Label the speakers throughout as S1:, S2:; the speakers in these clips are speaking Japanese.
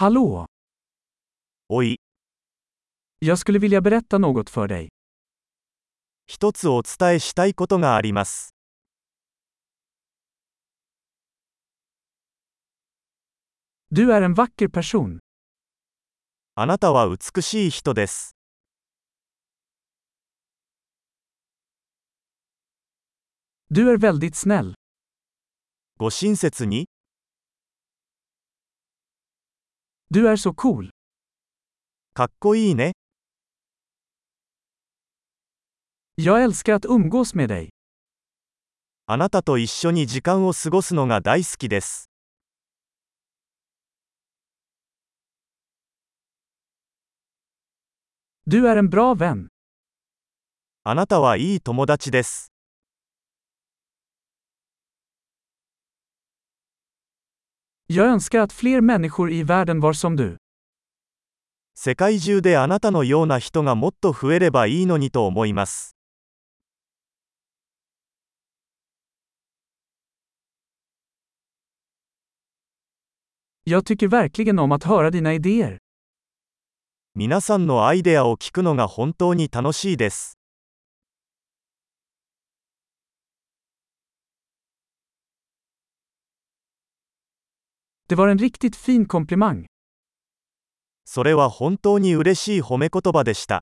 S1: Hallå!
S2: Oj,
S1: Jag skulle vilja berätta något för dig.
S2: 一つお伝えしたいことがあります。
S1: Du är en vacker person.
S2: あなたは美しい人です。
S1: Du är väldigt snäll.
S2: ご親切に、
S1: Du är så cool.
S2: かっこいいね。
S1: Jag älskar att umgås med dig.
S2: あなたと一緒に時間を過ごすのが大好きです。
S1: Du är en bra vän.
S2: あなたはいい友達です。
S1: Jag önskar att fler människor i världen var som du.
S2: 世界中であなたのような人がもっと増えればいいのにと思います。
S1: Jag tycker verkligen om att höra dina idéer.
S2: 皆さんのアイデアを聞くのが本当に楽しいです。
S1: Det var en riktigt fin komplimang.
S2: それは本当に嬉しい褒め言葉でした。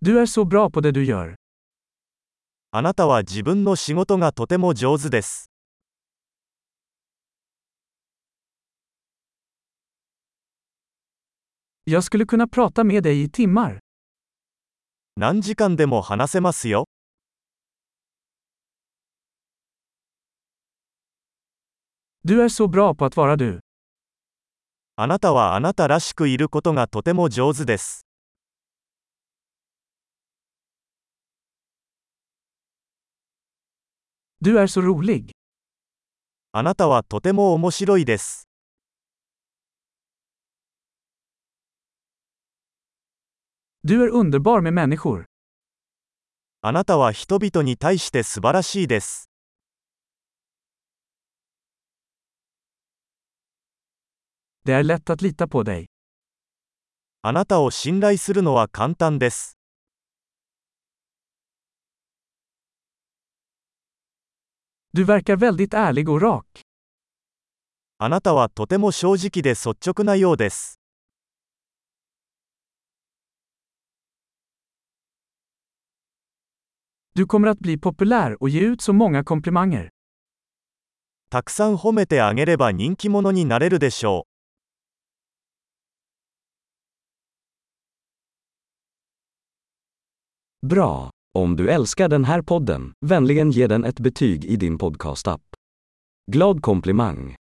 S1: Du är så bra på det du gör.
S2: あなたは自分の仕事がとても上手です。
S1: Jag skulle kunna prata med dig i timmar.
S2: 何時間でも話せますよ。
S1: Du är så bra på att vara du.
S2: あなたはあなたらしくいることがとても上手です。
S1: Du är så rolig.
S2: あなたはとても面白いです。
S1: Du är underbar med människor.
S2: あなたは人々に対して素晴らしいです。
S1: Det är lätt att lita på dig.
S2: あなたを信頼するのは簡単です。
S1: Du verkar väldigt ärlig och rak.
S2: あなたはとても正直で率直なようです。
S1: Du kommer att bli populär och ge ut så många komplimanger.
S2: たくさん褒めてあげれば人気者になれるでしょう。
S3: Bra! Om du älskar den här podden, vänligen ge den ett betyg i din podcastapp. Glad komplimang!